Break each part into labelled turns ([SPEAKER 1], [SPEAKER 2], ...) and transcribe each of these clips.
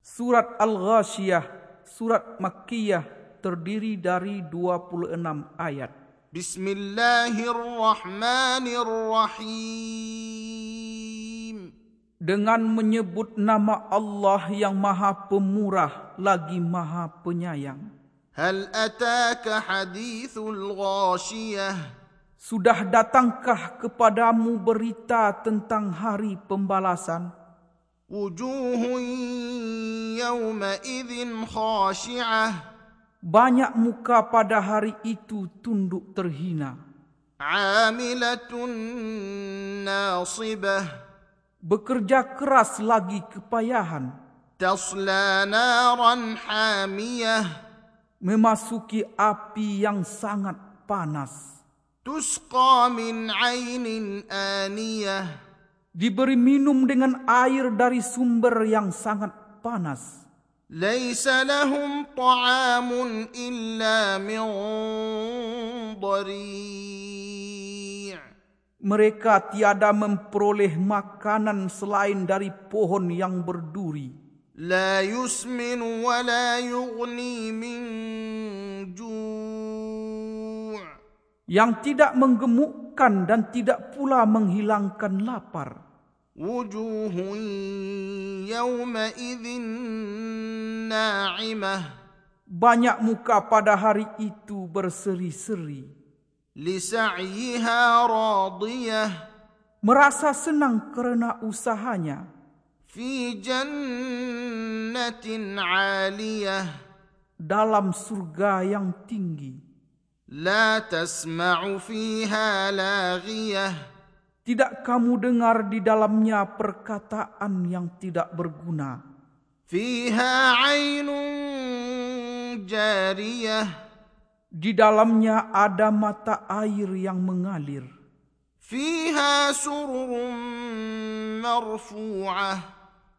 [SPEAKER 1] Surat Al-Ghashiyah, surat Makkiyah terdiri dari 26 ayat.
[SPEAKER 2] بسم الله الرحمن الرحيم
[SPEAKER 1] Dengan menyebut nama Allah yang maha pemurah lagi maha penyayang.
[SPEAKER 2] هل أتاك حديث الغاشية
[SPEAKER 1] Sudah datangkah kepadamu berita tentang hari pembalasan?
[SPEAKER 2] وجوه يومئذ خاشعة
[SPEAKER 1] Banyak muka pada hari itu tunduk terhina,
[SPEAKER 2] عاملة ناصبة
[SPEAKER 1] bekerja keras lagi kepayahan,
[SPEAKER 2] تصلى نارا حامية
[SPEAKER 1] memasuki api yang sangat panas,
[SPEAKER 2] تسقى من عين آنية
[SPEAKER 1] diberi minum dengan air dari sumber yang sangat panas,
[SPEAKER 2] ليس لهم طعام إلا من ضريع
[SPEAKER 1] mereka tiada memperoleh makanan selain dari pohon yang berduri,
[SPEAKER 2] لا يسمن ولا يغني من جوع
[SPEAKER 1] yang tidak menggemukkan dan tidak pula menghilangkan lapar.
[SPEAKER 2] وجوه يومئذ ناعمة
[SPEAKER 1] Banyak muka pada hari itu berseri-seri,
[SPEAKER 2] لسعيها راضية
[SPEAKER 1] merasa senang kerana usahanya,
[SPEAKER 2] في جنة عالية
[SPEAKER 1] dalam surga yang tinggi.
[SPEAKER 2] لا تسمع فيها لاغية
[SPEAKER 1] Tidak kamu dengar di dalamnya perkataan yang tidak berguna.
[SPEAKER 2] فيها عين جارية
[SPEAKER 1] Di dalamnya ada mata air yang mengalir.
[SPEAKER 2] فيها سرر مرفوعة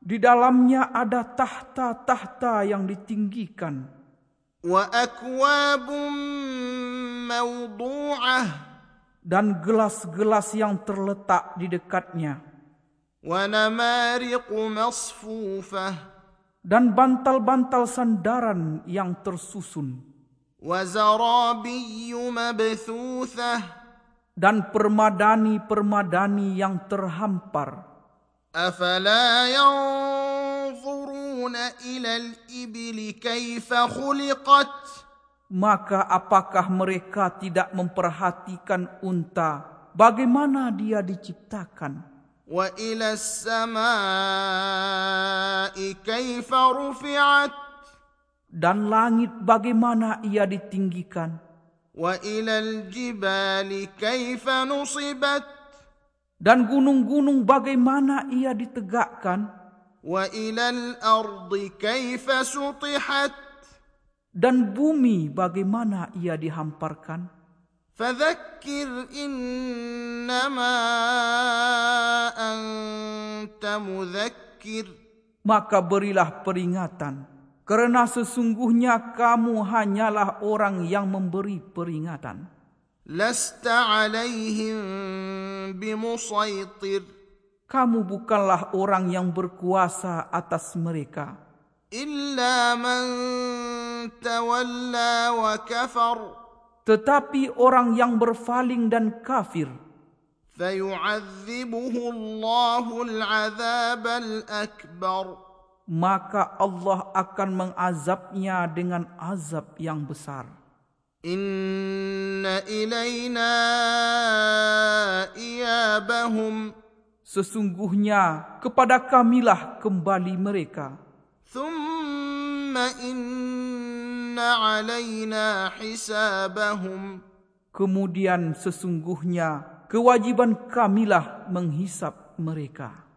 [SPEAKER 1] Di dalamnya ada tahta-tahta yang ditinggikan
[SPEAKER 2] وأكواب موضوعة
[SPEAKER 1] dan gelas-gelas yang terletak di dekatnya
[SPEAKER 2] ونمارق مصفوفة
[SPEAKER 1] dan bantal-bantal sandaran yang tersusun.
[SPEAKER 2] وزرابي مبثوثة
[SPEAKER 1] dan permadani-permadani yang terhampar.
[SPEAKER 2] أفلا ينظرون إلى الإبل كيف خلقت
[SPEAKER 1] Maka apakah mereka tidak memperhatikan unta? Bagaimana dia diciptakan?
[SPEAKER 2] وإلى السماء كيف رفعت
[SPEAKER 1] Dan langit bagaimana ia ditinggikan?
[SPEAKER 2] وإلى الجبال كيف نصبت
[SPEAKER 1] Dan gunung-gunung bagaimana ia ditegakkan?
[SPEAKER 2] وإلى الأرض كيف سطحت
[SPEAKER 1] Dan bumi bagaimana ia dihamparkan?
[SPEAKER 2] فذكر إنما أنت مذكر
[SPEAKER 1] Maka berilah peringatan. Kerana sesungguhnya kamu hanyalah orang yang memberi peringatan.
[SPEAKER 2] لست عليهم بمسيطر
[SPEAKER 1] Kamu bukanlah orang yang berkuasa atas mereka,
[SPEAKER 2] إلا من تولى وكفر
[SPEAKER 1] tetapi orang yang berpaling dan kafir,
[SPEAKER 2] فيعذبه الله العذاب الأكبر
[SPEAKER 1] maka Allah akan mengazabnya dengan azab yang besar.
[SPEAKER 2] إن إلينا إيابهم
[SPEAKER 1] Sesungguhnya kepada kamilah kembali mereka,
[SPEAKER 2] ثم إن علينا حسابهم
[SPEAKER 1] kemudian sesungguhnya kewajiban kamilah menghisap mereka.